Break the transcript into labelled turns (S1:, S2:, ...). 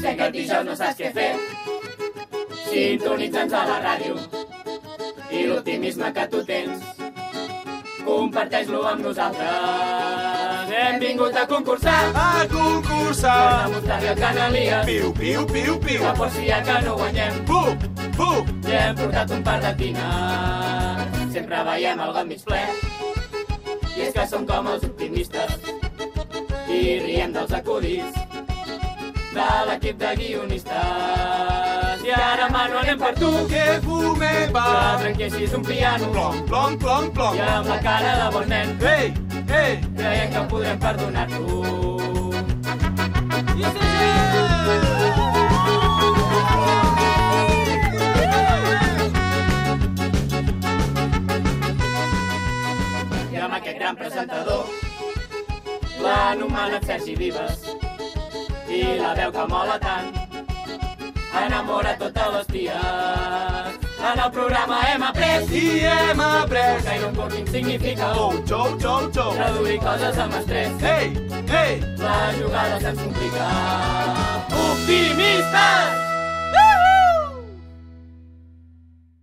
S1: sé que el dijous no saps què fer. Sintonitza'ns a la ràdio i l'optimisme que tu tens. Comparteix-lo amb nosaltres. Hem vingut a concursar
S2: A
S1: per
S2: concursar!
S1: demostrar-li al Canalies
S2: Piu, piu, piu, piu!
S1: que por si ja que no guanyem
S2: Pup, pup!
S1: i hem portat un par de tines. Sempre veiem el got mig ple i és que som com els optimistes i riem dels acudits de l'equip de guionistes. I ara, Manu, anem per tu,
S2: Que fumem
S1: que
S2: va!
S1: trenquessis un piano
S2: Plom, plom, plom, plom!
S1: i amb la cara de bon nen
S2: Ei, ei!
S1: creiem que podrem perdonar-lo. I amb aquest gran presentador, l'anomenat Sergi Vives, i la veu que mola tant, enamora totes les ties. En el programa hem après
S2: I hem après!
S1: que un currículum significa
S2: Xou, xou, xou, xou!
S1: traduir coses amb estrès.
S2: Ei, ei!
S1: La jugada se'ns complica. Optimistes!